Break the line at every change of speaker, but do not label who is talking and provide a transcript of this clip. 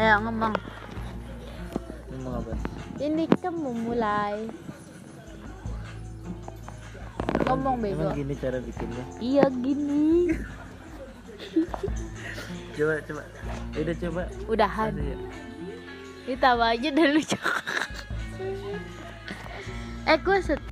Ayo ngomong.
Ngomong apa?
Ini kan memulai. Ngomong bego.
Emang gini cara bikinnya.
Iya gini.
Coba coba. Udah coba.
Udahan.
Ada ya?
gitu? Ditambah aja udah lucu. eh gue set-